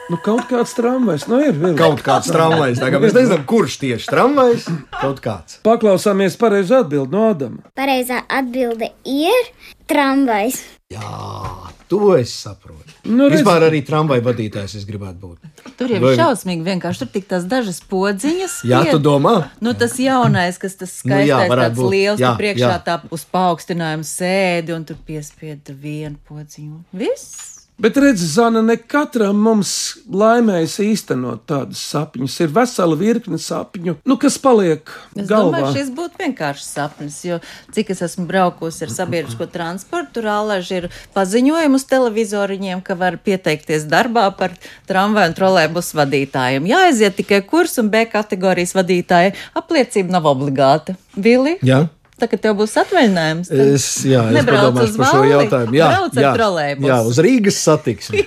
Speaker 3: Nu, kaut kāds tramvajs, nu ir vēl.
Speaker 5: Kaut kāds tramvajs. Tā kā Mēs nezinām, kurš tieši tramvajs. Kaut kāds.
Speaker 3: Paklausāmies pareizi atbild no Ādama.
Speaker 6: Pareizā atbilde ir tramvajs.
Speaker 5: Jā, to es saprotu.
Speaker 3: Nu,
Speaker 5: Nu,
Speaker 3: redz-
Speaker 5: Vispār arī tramvaja vadītājs es gribētu būt.
Speaker 4: Tur jau
Speaker 5: Vai-
Speaker 4: ir šausmīgi vienkārši. Tur tik tās dažas podziņas.
Speaker 5: Jā, tu
Speaker 4: spied.
Speaker 5: domā?
Speaker 4: Nu, tas jaunais, kas tas
Speaker 5: Nu, jā,
Speaker 4: skaistais, nu, jā,
Speaker 5: varētu
Speaker 4: tāds
Speaker 5: būt.
Speaker 4: būt. liels,
Speaker 5: Jā,
Speaker 4: jā, priekšā
Speaker 5: jā.
Speaker 4: jā. tā uz paaugstinājumu sēdi un tur piespieda vienu podziņu. Viss!
Speaker 3: Bet redz, Zana, ne katram mums laimējas īstenot tādas sapņus. Ir vesela virkne sapņu, nu, kas paliek
Speaker 4: Es
Speaker 3: galvā.
Speaker 4: domāju, šis būtu vienkārši sapnis, jo cik es esmu braukusi ar sabiedrisko transportu, tur ālaži ir paziņojumi uz televizoriņiem, ka var pieteikties darbā par tramvaju un trolēbus vadītājiem. Jāaiziet tikai kurs un B kategorijas vadītāja apliecība nav obligāta. Vili?
Speaker 5: Jā.
Speaker 4: Tā kā tev būs atvaļinājums, tad
Speaker 5: Es, jā, es
Speaker 4: Nebrauc
Speaker 5: padomāšu
Speaker 4: uz
Speaker 5: par šo
Speaker 4: Valli,
Speaker 5: jautājumu. Jā,
Speaker 4: brauc ar
Speaker 5: jā,
Speaker 4: trolejbusu.
Speaker 5: jā, uz Rīgas satiksmi.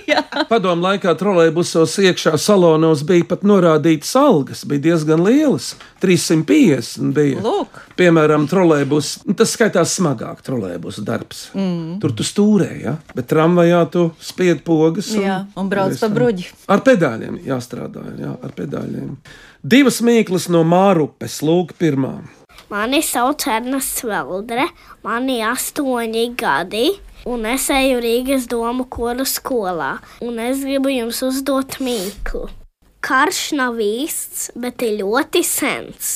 Speaker 3: Padomu laikā trolēļbusos iekšā salonos bija pat norādītas algas, bija diezgan lielas - 350 bija.
Speaker 4: Lūk.
Speaker 3: Piemēram, trolēļbus, Nu, tas skaitās smagāk trolēļbus darbs. Mm. Tur tu stūrēji, ja? bet tramvajā tu spied pogas.
Speaker 4: Jā, un brauc pa bruģi.
Speaker 3: Ar pedāļiem jāstrādā, jā, ar pedāļiem. Divas mīklas no Mārupes, lūk, pirmā.
Speaker 7: Mani sauc Ernas Veldre, man ir astoņi gadi. Un es eju Rīgas domu kora skolā, un es gribu jums uzdot mīklu. Karš nav īsts, bet ir ļoti sens.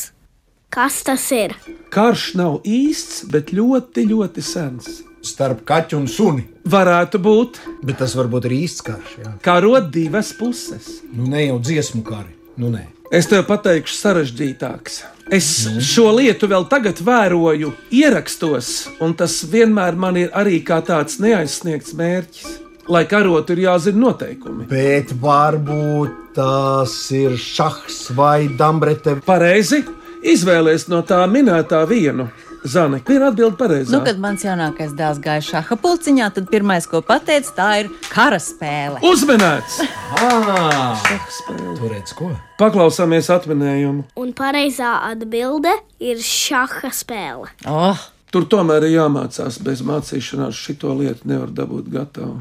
Speaker 7: Kas tas ir?
Speaker 3: Karš nav īsts, bet ļoti, ļoti sens.
Speaker 5: Starp kaķu un suni.
Speaker 3: Varētu būt,
Speaker 5: Bet tas varbūt ir īsts karš. Jā.
Speaker 3: kā rod divas puses.
Speaker 5: Nu, ne jau dziesmu kari. Nu, nē.
Speaker 3: Es tev pateikšu, sarežģītāks. Es šo lietu vēl tagad vēroju, ierakstos, un tas vienmēr man ir arī kā tāds neaizsniegts mērķis. Lai karotu, ir jāzina noteikumi.
Speaker 5: Bet varbūt tas ir šachs vai dambrete.
Speaker 3: Pareizi izvēlēties no tā minētā vienu. Zane, ir atbildi pareizi.
Speaker 4: Nu, kad mans jaunākais dēls gāja šāda pulciņā, tad pirmais, ko pateica, tā ir kara spēle.
Speaker 3: Uzmanīts!
Speaker 5: Ah, tur redz ko?
Speaker 3: Paklausāmies atminējumu.
Speaker 7: Un pareizā atbilde ir šaha spēle.
Speaker 4: Oh,
Speaker 3: Tur tomēr ir jāmācās bez mācīšanās. Šito lietu nevar dabūt gatavu.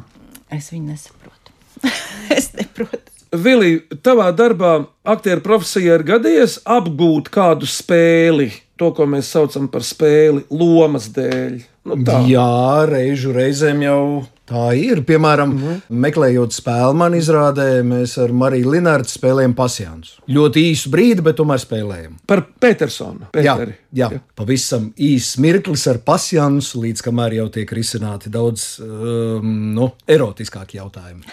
Speaker 4: es viņu nesaprotu. es neprotu.
Speaker 3: Vili, tavā darbā, aktieru profesijā, ir gadījies apgūt kādu spēli, to, ko mēs saucam par spēli, lomas dēļ. Nu, tā ir.
Speaker 5: Jā, reižu reizēm jau tā ir. Piemēram, mm -hmm. meklējot spēli, man izrādē, mēs ar Mariju Linārdu spēlējam pasiānus. Ļoti īsu brīdi, bet tomēr spēlējam.
Speaker 3: Par Petersonu.
Speaker 5: Jā,
Speaker 3: Pēteri.
Speaker 5: jā, pavisam īss mirklis ar pasiānus, līdz kamēr jau tiek risināti daudz um, nu, erotiskāki jautājumi.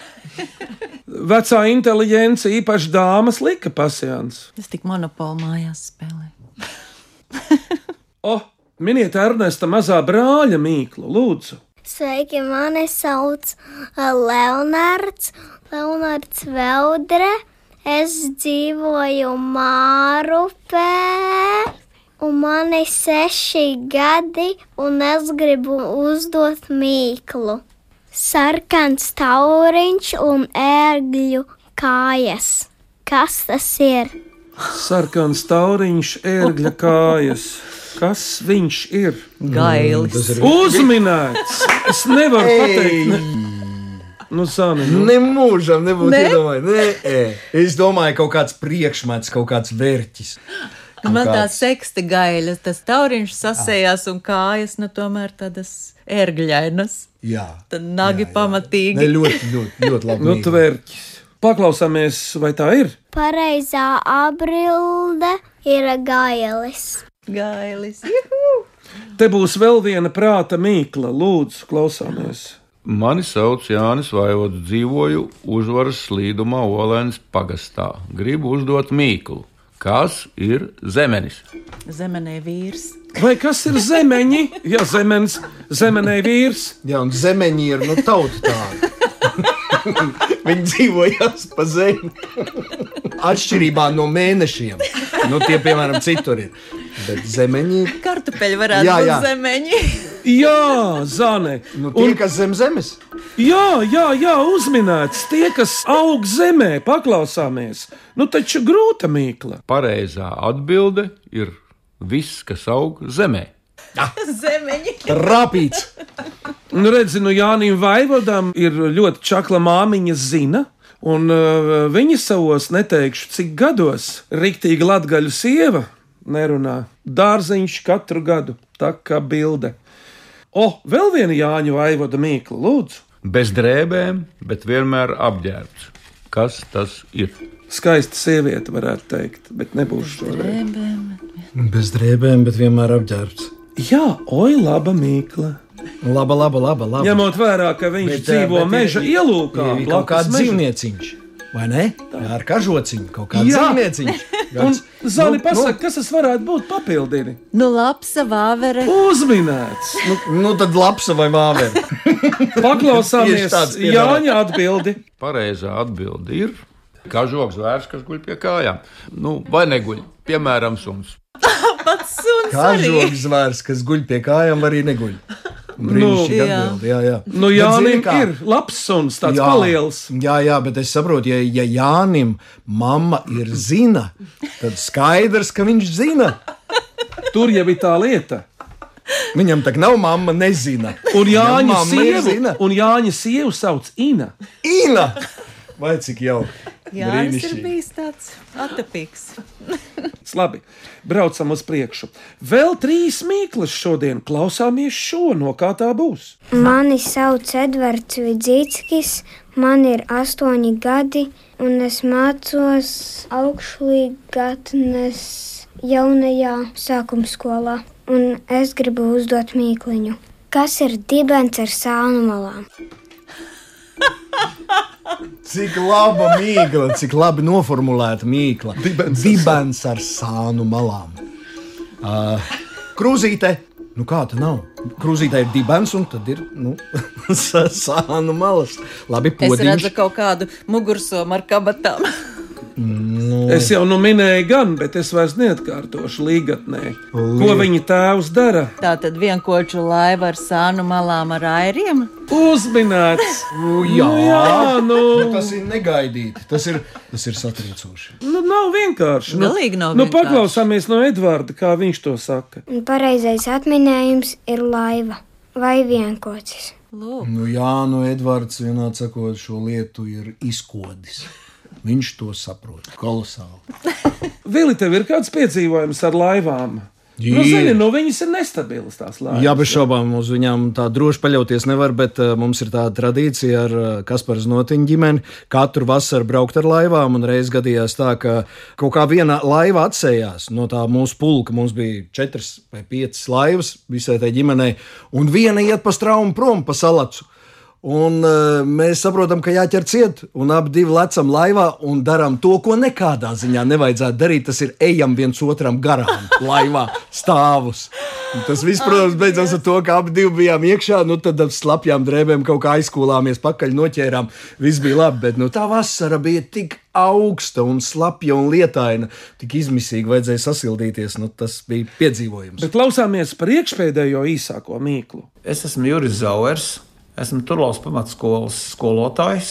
Speaker 3: Vecā inteligence, īpaši dāmas, lika pasiāns.
Speaker 4: Es tik monopolu mājās spēlēju.
Speaker 3: O, miniet Ernesta mazā brāļa mīklu, lūdzu.
Speaker 6: Sveiki, mani sauc eh, Leonards, Leonards Veldre. Es dzīvoju Mārupē, un man ir seši gadi, un es gribu uzdot mīklu. Sarkans tauriņš un ērgļu kājas. Kas tas ir?
Speaker 3: Sarkans tauriņš, ērgļa kājas. Kas viņš ir?
Speaker 5: Mm,
Speaker 4: Gailis.
Speaker 3: Uzminēts! Es nevaru pateikt. Ne... Nu, Zani, nu.
Speaker 5: Nemūžam, nebūtu ne? iedomājies. Nē, ē. es domāju, kaut kāds priekšmets, kaut kāds vērķis.
Speaker 4: Man tā
Speaker 5: kāds-
Speaker 4: seksta gaila, tas tauriņš sasējās un kājas, nu tomēr tādas ērgļainas.
Speaker 5: Jā,
Speaker 4: Tad nagi pamatīgi.
Speaker 5: Ne, ļoti, ļoti, ļoti labi.
Speaker 3: Nu,
Speaker 5: mīļi.
Speaker 3: tvērķis. Paklausāmies, vai tā ir.
Speaker 6: Pareizā atbilde ir gailis.
Speaker 4: Gailis.
Speaker 3: Te būs vēl viena prāta mīkla. Lūdzu, klausāmies.
Speaker 10: Mani sauc Jānis Vaivots, dzīvoju uzvaras slīdumā Olēnas pagastā. Gribu uzdot mīklu. Kas ir zemenis?
Speaker 4: Zemenē vīrs.
Speaker 3: Vai kas ir zemeņi? Jā, zemenis, zemenē vīrs.
Speaker 5: Jā, un zemeņi ir nu, tauta tāda. Viņi dzīvojās pa zemi. Atšķirībā no mēnešiem. Nu, tie, piemēram, citur ir. Bet zemeņi ir
Speaker 4: Kartupeļi varētu jā,
Speaker 5: Jā,
Speaker 4: jā.
Speaker 5: jā.
Speaker 4: būt zemeņi.
Speaker 3: Jā, zane.
Speaker 5: nu, tie,
Speaker 3: Un,
Speaker 5: un... kas zem zemes.
Speaker 3: jā, jā, jā, uzminēts. Tie, kas aug zemē, paklausāmies. Nu, taču grūta mīkla.
Speaker 10: Pareizā atbilde ir viss, kas aug zemē.
Speaker 4: zemeņi.
Speaker 5: Rapīts.
Speaker 3: Nu, redzi, nu Jānis Vaivodam ir ļoti čakla māmiņa zina. Un uh, viņa savos neteikšu, cik gados rīktīgi latgaļu sieva nerunā. Dārziņš katru gadu, tā kā bilde. O, vēl viena Jāņa Vaivoda mīkla, lūdzu.
Speaker 10: Bez drēbēm, bet vienmēr apģērbts. Kas tas ir?
Speaker 3: Skaista sieviete, varētu teikt, bet nebūs šodien.
Speaker 5: Bez drēbēm, bet vienmēr apģērbts.
Speaker 3: Jā, oi, laba mīkla.
Speaker 5: Laba, laba, laba. laba. eh,
Speaker 3: Ņemot vērā, ka viņš bet, dzīvo bet, meža ir, ielūkā,
Speaker 5: ir kaut kāds dzīvnieciņš. Vai ne? Jā, ar kažociņu kaut kāda
Speaker 3: Jā.
Speaker 5: dzīvnieciņš.
Speaker 3: Un
Speaker 5: Gads.
Speaker 3: Zani,
Speaker 5: Nu,
Speaker 3: pasak, kas tas varētu būt papildini?
Speaker 4: Nu, lapsa, vāvere.
Speaker 3: Uzminēts!
Speaker 5: Nu, nu tad lapsa vai vāveri. Tieši
Speaker 3: Paklausāmies
Speaker 5: tāds piedāvā.
Speaker 3: Jāņa atbildi.
Speaker 10: Pareizā atbilde ir kažoks vērts, kas guļ pie kājām. Nu, vai neguļ, piemēram, suns.
Speaker 4: Pats suns
Speaker 5: Kā
Speaker 4: arī.
Speaker 5: žogs zvērs, kas guļ pie kājām, arī neguļ. Brīnišķīgi
Speaker 4: jā.
Speaker 5: atbildi, jā, jā.
Speaker 3: Nu,
Speaker 5: Bet
Speaker 3: Jānim
Speaker 5: zini kā?
Speaker 3: ir labs suns, tāds paliels.
Speaker 5: Jā, jā, bet es saprotu, ja, ja Jānis mamma ir zina, tad skaidrs, ka viņš zina.
Speaker 3: Tur jau ir tā lieta.
Speaker 5: Viņam tā nav mamma, nezina.
Speaker 3: Un Jāņa
Speaker 5: mamma ir
Speaker 3: sievu,
Speaker 5: zina.
Speaker 3: un Jāņa sievu sauc Ina.
Speaker 5: Ina! Vai cik jauki?
Speaker 4: Jā, tas ir
Speaker 5: Brīnišķīgi.
Speaker 4: bijis tāds atapīgs.
Speaker 3: Labi, braucam uz priekšu. Vēl trīs mīklas šodien klausāmies šo, no kā tā būs.
Speaker 6: Mani sauc Edvards Vidzītskis, man ir astoņi gadi, un es mācos augšlīgatnes jaunajā sākumskolā. Un es gribu uzdot mīkliņu. Kas ir dibens ar sānu malām?
Speaker 5: Cik laba mīkla, cik labi noformulēta mīkla. Dibens ar sānu malām. Ā, Krūzīte! Nu kā tā nav? Krūzīte ir dibens, un tad ir nu, sa- sānu malas. Labi,
Speaker 4: Es redzu
Speaker 5: podiņš.
Speaker 4: kaut kādu mugursomu ar kabatām.
Speaker 3: Es jau nu minēju, gan, bet es vairs neatkārtošu līgatnē. Ko
Speaker 5: Liet-
Speaker 3: viņa tēvs dara?
Speaker 4: Tā tad vienkoču laiva ar sānu malām ar airiem.
Speaker 3: Uzminēts!
Speaker 5: Nu, jā,
Speaker 3: Nu jā, nu.
Speaker 5: Nu, tas ir negaidīti. Tas ir, tas ir satriecoši.
Speaker 3: Nu, nav vienkārši. Nu,
Speaker 4: Galīgi nav
Speaker 3: nu,
Speaker 4: vienkārši.
Speaker 3: paklausāmies no Edvarda, kā viņš to saka.
Speaker 6: Un pareizais atminējums ir laiva vai vienkocis.
Speaker 4: Lūk,
Speaker 5: Nu, jā, nu, Edvards vienā sakot, šo lietu ir izkodis. Viņš to saprot. Kolosāli.
Speaker 3: Vili, tev ir kāds piedzīvojums ar laivām?
Speaker 5: Ir.
Speaker 3: Nu, zini, nu, viņas ir nestabilas tās laivas.
Speaker 5: Jā, bez šaubām uz viņiem tā droši paļauties nevar, bet uh, mums ir tāda tradīcija ar uh, Kasparas notiņu ģimeni. Katru vasaru braukt ar laivām, un reiz gadījās tā, ka kaut kā viena laiva atsējās no tā mūsu pulka. Mums bija četras vai piecas laivas visai tai ģimenei, un viena iet pa straumu prom pa salacu. Un uh, mēs saprotam, ka jāķer ciet, un abi divi lecam laivā un darām to, ko nekādā ziņā nevajadzētu darīt. Tas ir ejam viens otram garām, laivā stāvus. Un tas viss, protams, beidzās ar to, ka abi divi bijām iekšā, nu tad ar slapjām drēbēm kaut kā aizkūlāmies, pakaļ noķērām. Viss bija labi, bet nu, tā vasara bija tik augsta un slapja un lietaina, tik izmisīgi vajadzēja sasildīties. Nu, tas bija piedzīvojums.
Speaker 3: Bet klausāmies priekšpēdējo īsāko mīklu.
Speaker 1: Es esmu Juris Zauers, esmu Turlaus pamatskolas skolotājs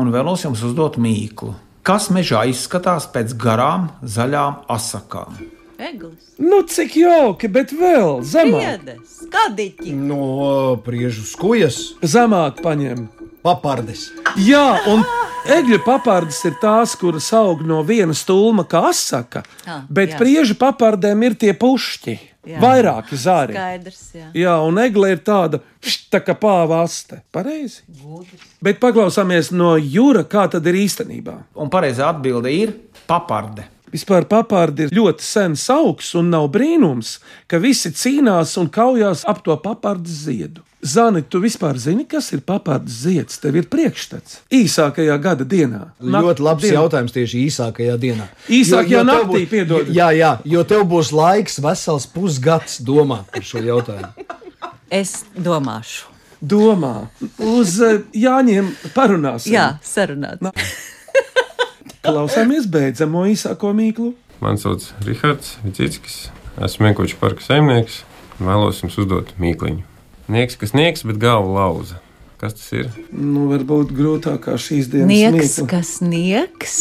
Speaker 1: un vēlos jums uzdot mīklu. Kas mežā izskatās pēc garām, zaļām asakām?
Speaker 4: eglis,
Speaker 3: Nu, cik jauki, bet vēl zemāk.
Speaker 4: piedes, skadiķi.
Speaker 5: No priežu skujas,
Speaker 3: Zemāk paņem.
Speaker 5: papardes.
Speaker 3: Jā, un egļu papardes ir tās, kuras aug no viena stūlma, kā asaka.
Speaker 4: Ah,
Speaker 3: bet
Speaker 4: jā.
Speaker 3: priežu papardēm ir tie pušķi,
Speaker 4: Jā.
Speaker 3: vairāki zāri.
Speaker 4: Skaidrs, jā.
Speaker 3: Jā, un egle ir tāda št, tā kā pāvāste. Pareizi. Bet paklausāmies no jūra, kā tad ir īstenībā.
Speaker 1: Un pareizā atbilde ir paparde.
Speaker 3: Vispār papārdi ir ļoti sens augs, un nav brīnums, ka visi cīnās un kaujās ap to papārdu ziedu. Zani, tu vispār zini, kas ir papārdu zieds? Tev ir priekšstats īsākajā gada dienā.
Speaker 5: Ļoti labs
Speaker 3: Nakts
Speaker 5: diena.
Speaker 3: dienā.
Speaker 5: jautājums tieši īsākajā dienā.
Speaker 3: Īsākajā
Speaker 5: tev
Speaker 3: naktī,
Speaker 5: būs-
Speaker 3: piedod.
Speaker 5: Jā, jā, jo tev būs laiks vesels pusgads domāt par šo jautājumu.
Speaker 4: Es domāšu.
Speaker 3: Domā, uz eh, Jāņiem parunāsim.
Speaker 4: Jā, sarunāt.
Speaker 3: Na- Klausāmies beidzamo īsāko mīklu.
Speaker 11: Mani sauc Rahards Vitskis. Esmu Mēnkoča parka saimnieks. Vēlos jums uzdot mīkliņu. Nieks, kas nieks, bet galva lauza. Kas tas ir?
Speaker 3: Nu, varbūt grūtākā šīs dienas
Speaker 4: Nieks,
Speaker 3: mīkla.
Speaker 4: kas nieks,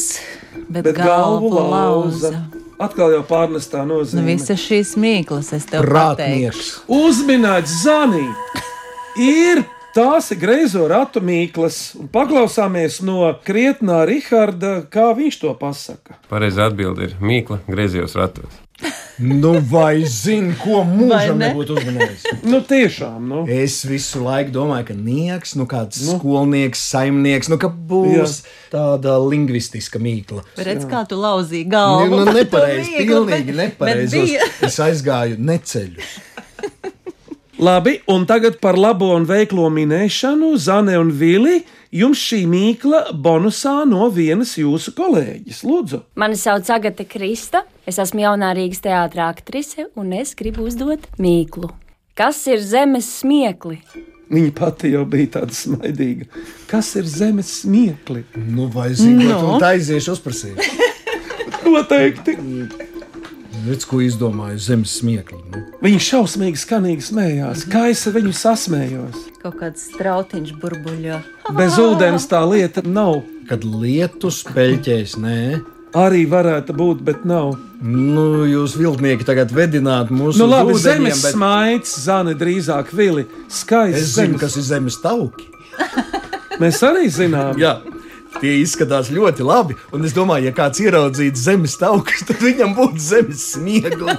Speaker 4: bet,
Speaker 3: Bet
Speaker 4: bet galvu lauza.
Speaker 3: Atkal jau pārnestā
Speaker 4: Nu,
Speaker 3: nozīmē.
Speaker 4: visas šīs mīklas es tev pateikšu.
Speaker 5: Prātnieks.
Speaker 3: Uzminēts Zanī. Ir tās ir greizo ratu mīklas. Un Paklausāmies no krietnā Riharda, kā viņš to pasaka.
Speaker 11: Pareizā atbilde ir mīkla griezījos ratos.
Speaker 5: Nu, vai zini, ko
Speaker 4: Vai
Speaker 5: mūžam
Speaker 4: ne?
Speaker 5: nebūtu uzmanējis?
Speaker 3: Nu, tiešām, nu.
Speaker 5: Es visu laiku domāju, ka nieks, nu kāds nu. skolnieks, saimnieks, nu ka būs jā. tāda lingvistiska mīkla.
Speaker 4: Redz, kā tu lauzīji galvu.
Speaker 5: Nu, nu,
Speaker 4: par to
Speaker 5: nepareizi,
Speaker 4: mīklu,
Speaker 5: pilnīgi
Speaker 4: bet- bet
Speaker 5: nepareizos.
Speaker 4: bija-
Speaker 5: Es aizgāju neceļu.
Speaker 3: Labi, un tagad par labo un veiklo minēšanu, Zane un Vili. Jums šī mīkla bonusā no vienas jūsu kolēģis. Lūdzu,
Speaker 12: Mani sauc Agate Krista. Es esmu jaunā Rīgas teātris, aktrise, un es gribu uzdot mīklu. Kas ir zemes smiekli?
Speaker 3: viņa pati jau bija tāda smaidīga. Kas ir zemes smieklis?
Speaker 5: Nu, vai zini,
Speaker 3: No.
Speaker 5: no. tā aiziešu uzprasīt?
Speaker 3: Noteikti.
Speaker 5: Redz, ko izdomāju zemes smieklīgi. Nu.
Speaker 3: Viņa šausmīgi skanīgi smējās, kā es ar viņu sasmējos.
Speaker 4: Kaut kāds strautiņš burbuļo.
Speaker 3: Bez ūdens tā lieta nav.
Speaker 5: Kad lietus peļķēs, nē.
Speaker 3: Arī varētu būt, bet nav.
Speaker 5: Nu, jūs viltnieki tagad vedināt mūsu
Speaker 3: Nu, labi,
Speaker 5: ūdeņiem,
Speaker 3: zemes bet... smaids, zāle drīzāk vili. Skaisti.
Speaker 5: Es zinu, kas ir zemes tauki.
Speaker 3: Mēs arī zinām.
Speaker 5: Jā. Tie izskatās ļoti labi, un es domāju, ja kāds ieraudzītu zemes taukus, tad viņam būtu zemes smiegli.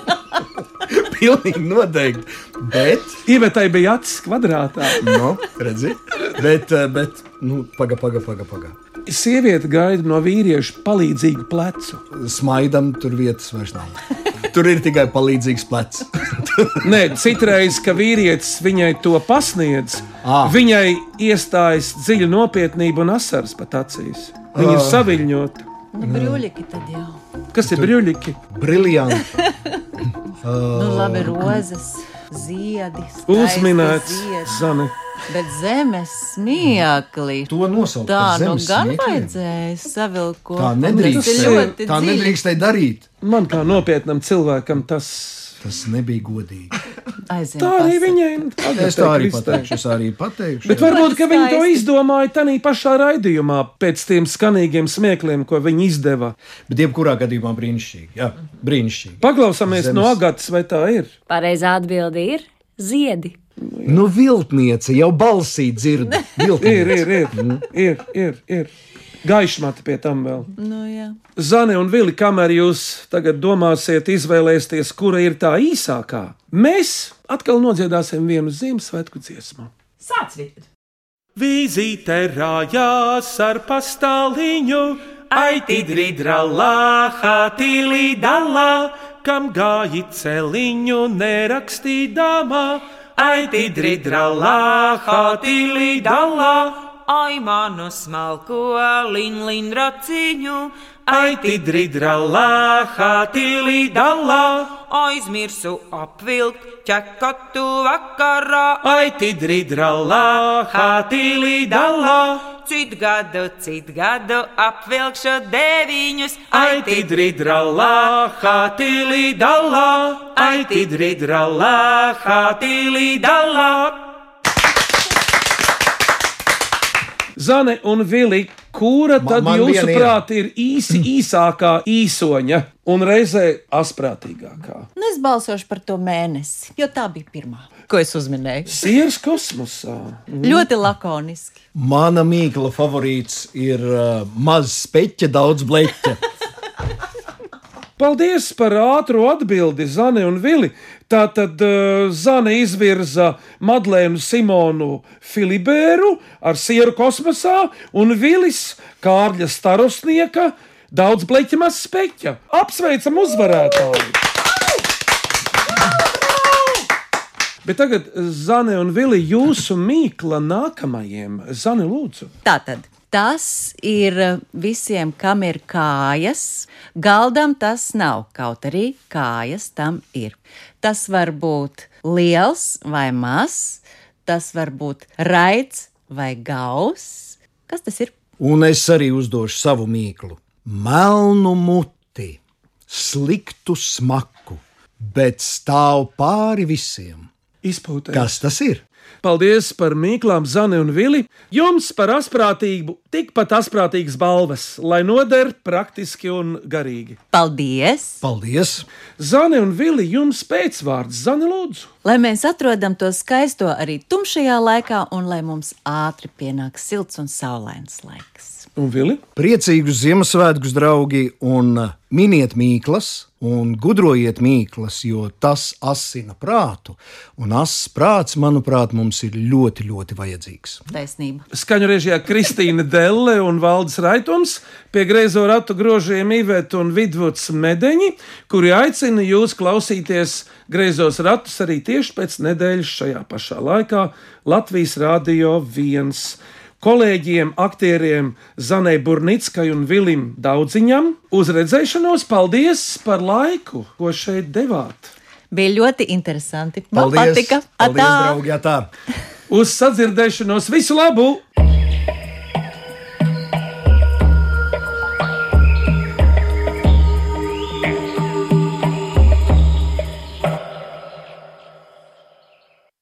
Speaker 5: Pilnīgi noteikti. Bet,
Speaker 3: Ivetai bija acis kvadrātā.
Speaker 5: nu, redziet, bet, eh, bet, nu, paga, paga, paga, paga.
Speaker 3: Sieviete gaida no vīrieša palīdzīgu plecu.
Speaker 5: Smaidam, tur vietas vairs nav. Tur ir tikai palīdzīgs plecs.
Speaker 3: Nē, citreiz, ka vīrietis viņai to pasniedz,
Speaker 5: Ā.
Speaker 3: viņai iestājas dziļa nopietnība un asars pat acīs. Viņa ir
Speaker 5: Ā.
Speaker 3: saviņota.
Speaker 4: Nu, Brūļiki tad jau.
Speaker 3: Kas ir brīvīgi?
Speaker 5: Briljanti.
Speaker 4: Nu, labi, rozes, ziedi. skaistas
Speaker 3: Uzminēts,
Speaker 4: ziedi.
Speaker 3: Zani.
Speaker 4: Bet zemes smieklīgi.
Speaker 5: To nosaukt
Speaker 4: Tā
Speaker 5: par
Speaker 4: nu
Speaker 5: zemes
Speaker 4: gan
Speaker 5: smiekliem?
Speaker 4: vajadzēja savilkt ko.
Speaker 5: Tā
Speaker 4: Tas ir
Speaker 5: nedrīkst.
Speaker 4: ļoti
Speaker 5: Tā
Speaker 4: dziļi.
Speaker 5: nedrīkst darīt.
Speaker 3: Man kā nopietnam cilvēkam tas
Speaker 5: Tas nebija godīgi.
Speaker 4: Aiziet.
Speaker 3: Tā arī viņai ir.
Speaker 5: Es tā arī pateikšu. Es arī pateikšu.
Speaker 3: Bet
Speaker 5: jā.
Speaker 3: varbūt ka viņi to
Speaker 4: Skaisti.
Speaker 3: izdomāja tajā pašā raidījumā, pēc tiem skanīgiem smiekliem, ko viņi izdeva.
Speaker 5: Bet jebkurā gadījumā brīnišķīgi. Jā, brīnišķīgi.
Speaker 3: Nu, Paklausāmies
Speaker 5: Zemes.
Speaker 3: no Agatas, vai tā ir.
Speaker 12: Pareizā atbilde ir ziedi.
Speaker 5: Nu, viltniece jau balsī dzird.
Speaker 3: Ir, ir,
Speaker 5: Viltniece.
Speaker 3: ir, ir, ir, ir. Gaišmata pie tam vēl.
Speaker 4: Nu, jā.
Speaker 3: Zane un Vili, kamēr jūs tagad domāsiet, izvēlēsieties, kura ir tā īsākā, mēs atkal nodziedāsim vienu Ziemassvētku dziesmu.
Speaker 2: Sāc vidīt.
Speaker 3: Vizīte rājās ar pastāliņu, aitidrīdralā, hatīlīdalā, kam gāji celiņu nerakstīdāmā, aitidrīdralā, hatīlīdalā.
Speaker 2: Ai, manu smalko linlin raciņu,
Speaker 3: Aitidrīdralā, hatīlīdalā,
Speaker 2: aizmirsu apvilkt ķekatu vakarā.
Speaker 3: aitidrīdralā, hatīlīdalā,
Speaker 2: Cit gadu, cit gadu apvilkšu deviņus.
Speaker 3: aitidrīdralā, hatīlīdalā, aitidrīdralā, hatīlīdalā. Zane un Vili, kura
Speaker 5: Ma-
Speaker 3: tad
Speaker 5: man viena ir.
Speaker 3: jūsuprāt ir īsi īsākā īsoņa un reizē asprātīgākā?
Speaker 4: Nu, es balsošu par to mēnesi, jo tā bija pirmā, ko es uzminēju.
Speaker 3: Sieras kosmosā.
Speaker 4: Ļoti lakoniski.
Speaker 5: Mana mīkla favorīts ir uh, mazs peķa, daudz bleķa.
Speaker 3: Paldies par ātru atbildi, Zane un Vili. Tā tad uh, Zane izvirza Madlēnu Simonu Filibēru ar sieru kosmosā un Vilis Kārļa starosnieka daudz bleķa maz speķa. Apsveicam uzvarētāju! Bet tagad, Zane un Vili, jūsu mīkla nākamajiem, Zane, lūdzu.
Speaker 4: Tātad. Tas ir eh, visiem, kam ir kājas. Galdam tas nav, kaut arī kājas tam ir. Tas var būt liels vai mazs, tas var būt raids vai gauss. Kas tas ir?
Speaker 5: Un es arī uzdošu savu mīklu. Melnu muti, sliktu smaku, bet stāv pāri visiem.
Speaker 3: Izpūtē.
Speaker 5: Kas tas ir?
Speaker 3: Paldies par mīklām, Zani un Vili. Jums par asprātību tikpat asprātīgas balvas, lai noder praktiski un garīgi.
Speaker 4: Paldies!
Speaker 5: Paldies!
Speaker 3: Zani un Vili, jums pēcvārds, Zani Lūdzu.
Speaker 4: Lai mēs atrodam to skaisto arī tumšajā laikā, un lai mums ātri pienāks silts un saulains laiks.
Speaker 3: Un Vili?
Speaker 5: Priecīgus Ziemassvētkus, draugi, un uh, miniet mīklas, un gudrojiet mīklas, jo tas asina prātu. Un asins prāts, manuprāt, mums ir ļoti, ļoti vajadzīgs.
Speaker 4: Taisnība.
Speaker 3: Skaņu režijā Kristīna Delle un Valdis Raitons, pie griezo ratu grožiem Iveta un Vidvuds Medeņi, kuri aicina jūs klausīties griezos ratus arī tieši pēc nedēļas šajā pašā laikā Latvijas Rādio 1. Kolēģiem, aktieriem Zanai Burnickai un Vilim Daudziņam uz redzēšanos paldies par laiku, ko šeit devāt.
Speaker 4: Bija ļoti interesanti. Man patika. Atā!
Speaker 5: draugi, tā.
Speaker 3: Uz sadzirdēšanos visu labu!